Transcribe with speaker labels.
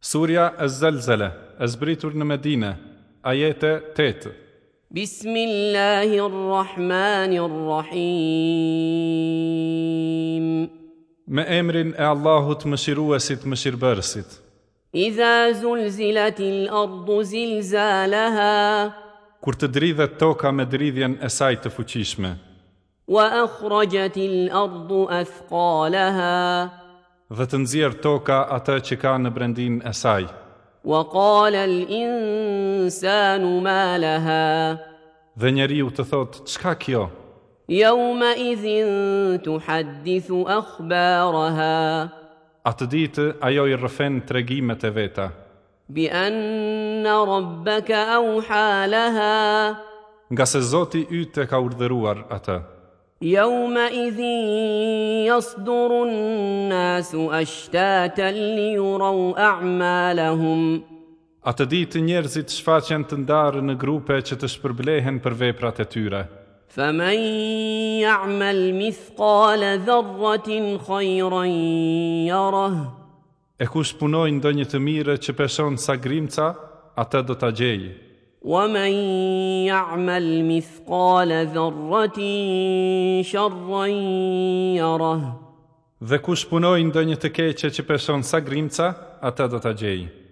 Speaker 1: Surja e Zelzele, e zbritur në Medine, ajete 8.
Speaker 2: بسم الله الرحمن الرحيم
Speaker 1: Me emrin e Allahut më shiruesit më shirëbërësit.
Speaker 2: إذا زلزلت الأرض زلزالها
Speaker 1: Kur të dridhet toka me dridhjen e saj të fuqishme,
Speaker 2: وأخرجت الأرض أثقالها
Speaker 1: dhe të nxjerr toka atë që ka në brendin e saj.
Speaker 2: وقال الإنسان ما لها
Speaker 1: Dhe njeriu të thotë, çka kjo?
Speaker 2: يومئذ تحدث أخبارها
Speaker 1: Atë ditë ajo i rrëfen tregimet e veta,
Speaker 2: بأن ربك أوحى لها
Speaker 1: nga se Zoti yt e ka urdhëruar atë.
Speaker 2: يومئذ يصدر الناس اشتاتا ليروا اعمالهم
Speaker 1: Atë ditë njerëzit shfaqen të ndarë në grupe që të shpërblehen për veprat e tyre.
Speaker 2: فمن يعمل مثقال ذره خيرا يره
Speaker 1: E kush punoj ndonjë të mire që peshon sa grimca, atë do të gjejë.
Speaker 2: ومن يعمل مثقال ذره شرا يره
Speaker 1: Dhe kush punoj ndonjë të keqe që peshon sa grimca, atë do të gjejë.